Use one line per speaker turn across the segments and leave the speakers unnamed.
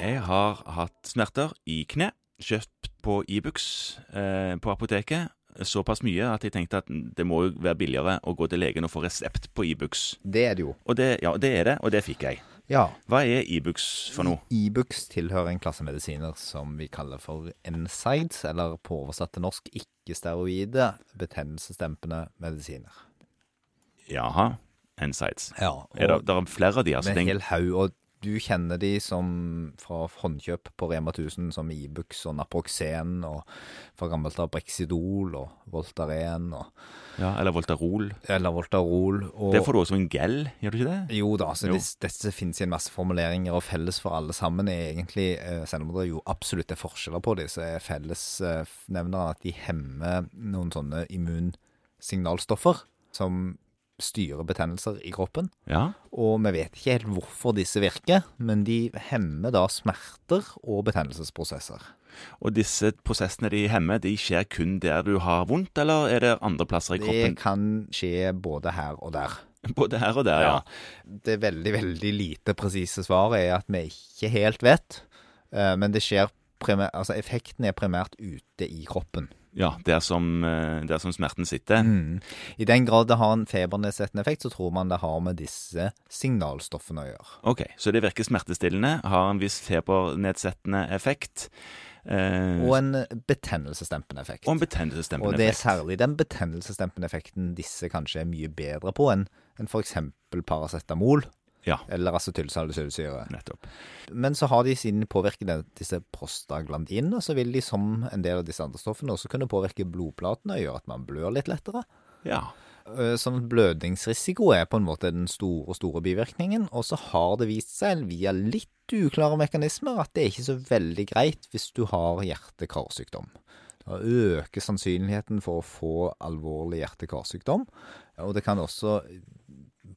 Jeg har hatt smerter i kne. Kjøpt på Ibux eh, på apoteket såpass mye at jeg tenkte at det må jo være billigere å gå til legen og få resept på Ibux.
Det er det jo.
Og det, ja, det er det, og det fikk jeg.
Ja.
Hva er Ibux for noe?
Ibux tilhører en klasse medisiner som vi kaller for NSAIDs, eller på oversatt til norsk ikke-steroide betennelsesdempende medisiner.
Jaha. Insights.
Ja, og
Er det, der er flere av de, altså.
med
det er
en
en-
hel haug. Og du kjenner de som fra håndkjøp på Rema 1000, som Ibux og Naproxen, og fra gammelt av Brexidol og Voltaren, og,
ja, eller Voltarol.
eller Voltarol. Og,
Det får du også en gel, gjør du ikke det?
Jo da, så
Jo.
Disse, disse finnes i en masse formuleringer, og felles for alle sammen er egentlig, eh, selv om det jo absolutt er forskjeller på dem, så er eh, fellesnevneren at de hemmer noen sånne immunsignalstoffer som styrer betennelser i kroppen.
Ja.
Og vi vet ikke helt hvorfor disse virker, men de hemmer da smerter og betennelsesprosesser.
Og disse prosessene de hemmer, de skjer kun der du har vondt, eller er det andre plasser i
Det
kroppen?
kan skje både her og der.
Både her og der, ja.
Det veldig, veldig lite presise svaret er at vi ikke helt vet, eh, men det skjer primært, altså effekten er primært ute i kroppen.
Ja, der som, eh, der som smerten sitter.
Mm. I den grad det har en febernedsettende effekt, så tror man det har med disse signalstoffene å gjøre.
Ok, Så det virker smertestillende, har en viss febernedsettende effekt. Eh,
Og en betennelsesdempende effekt.
og en betennelsesdempende
Og det er
effekt.
særlig den betennelsesdempende effekten disse kanskje er mye bedre på enn enn f.eks. paracetamol
Ja,
eller acetylsalicylsyre.
nettopp.
Men så har de sin påvirkning disse prostaglandinene, så vil de som en del av disse andre stoffene også kunne påvirke blodplatene og gjøre at man blør litt lettere.
Ja.
Eh, Sånn at blødningsrisiko er på en måte den store, store bivirkningen. Og så har det vist seg via litt uklare mekanismer at det er ikke så veldig greit hvis du har hjerte-karsykdom. Da øker sannsynligheten for å få alvorlig hjerte-karsykdom. Og det kan også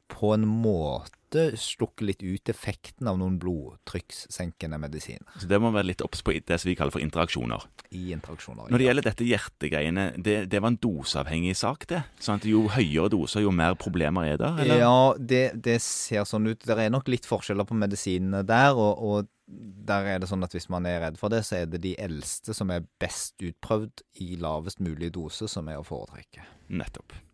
på en måte slukke litt ut effekten av noen blodtrykkssenkende medisiner
Så det må være litt obs på det som vi kaller for interaksjoner.
i interaksjoner.
Når det gjelder dette hjertegreiene, det, det var en doseavhengig sak, det. Sånn at jo høyere doser, jo mer problemer er der, eller?
Ja, det, det ser sånn ut. Det er nok litt forskjeller på medisinene der, og, og der er det sånn at hvis man er redd for det, så er det de eldste som er best utprøvd i lavest mulig dose, som er å foretrekke.
Nettopp.